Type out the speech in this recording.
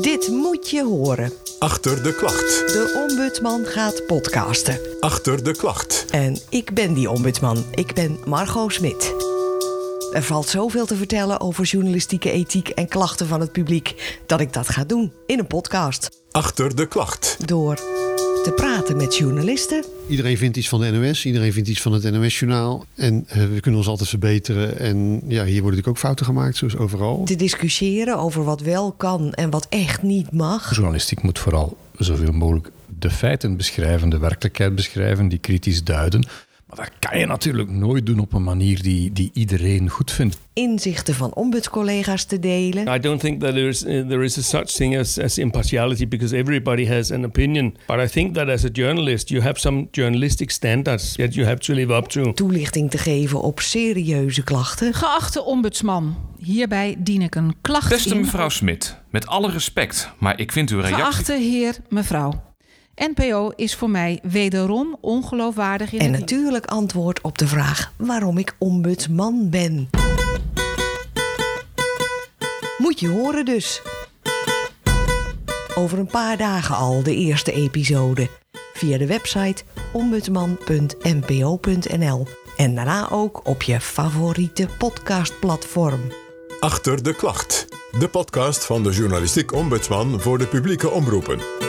Dit moet je horen. Achter de klacht. De ombudsman gaat podcasten. Achter de klacht. En ik ben die ombudsman. Ik ben Margot Smit. Er valt zoveel te vertellen over journalistieke ethiek en klachten van het publiek dat ik dat ga doen in een podcast. Achter de klacht. Door te praten met journalisten, Iedereen vindt iets van de NOS, iedereen vindt iets van het NOS-journaal. En eh, we kunnen ons altijd verbeteren. En ja, hier worden natuurlijk ook fouten gemaakt, zoals overal. te discussiëren over wat wel kan en wat echt niet mag. Journalistiek moet vooral zoveel mogelijk de feiten beschrijven, de werkelijkheid beschrijven, die kritisch duiden. Maar dat kan je natuurlijk nooit doen op een manier die, die iedereen goed vindt. Inzichten van ombudscollega's te delen. I don't think that there is uh, there is a such thing as, as impartiality because everybody has an opinion. But I think that as a journalist, you have some journalistic standards that you have to live up to. Toelichting te geven op serieuze klachten. Geachte ombudsman, hierbij dien ik een klacht Beste in. mevrouw Smit, met alle respect, maar ik vind uw reactie... Geachte heer, mevrouw. NPO is voor mij wederom ongeloofwaardig in En het- natuurlijk antwoord op de vraag waarom ik ombudsman ben. Moet je horen dus. Over een paar dagen al de eerste episode. Via de website ombudsman.npo.nl. En daarna ook op je favoriete podcastplatform. Achter de klacht. De podcast van de journalistiek ombudsman voor de publieke omroepen.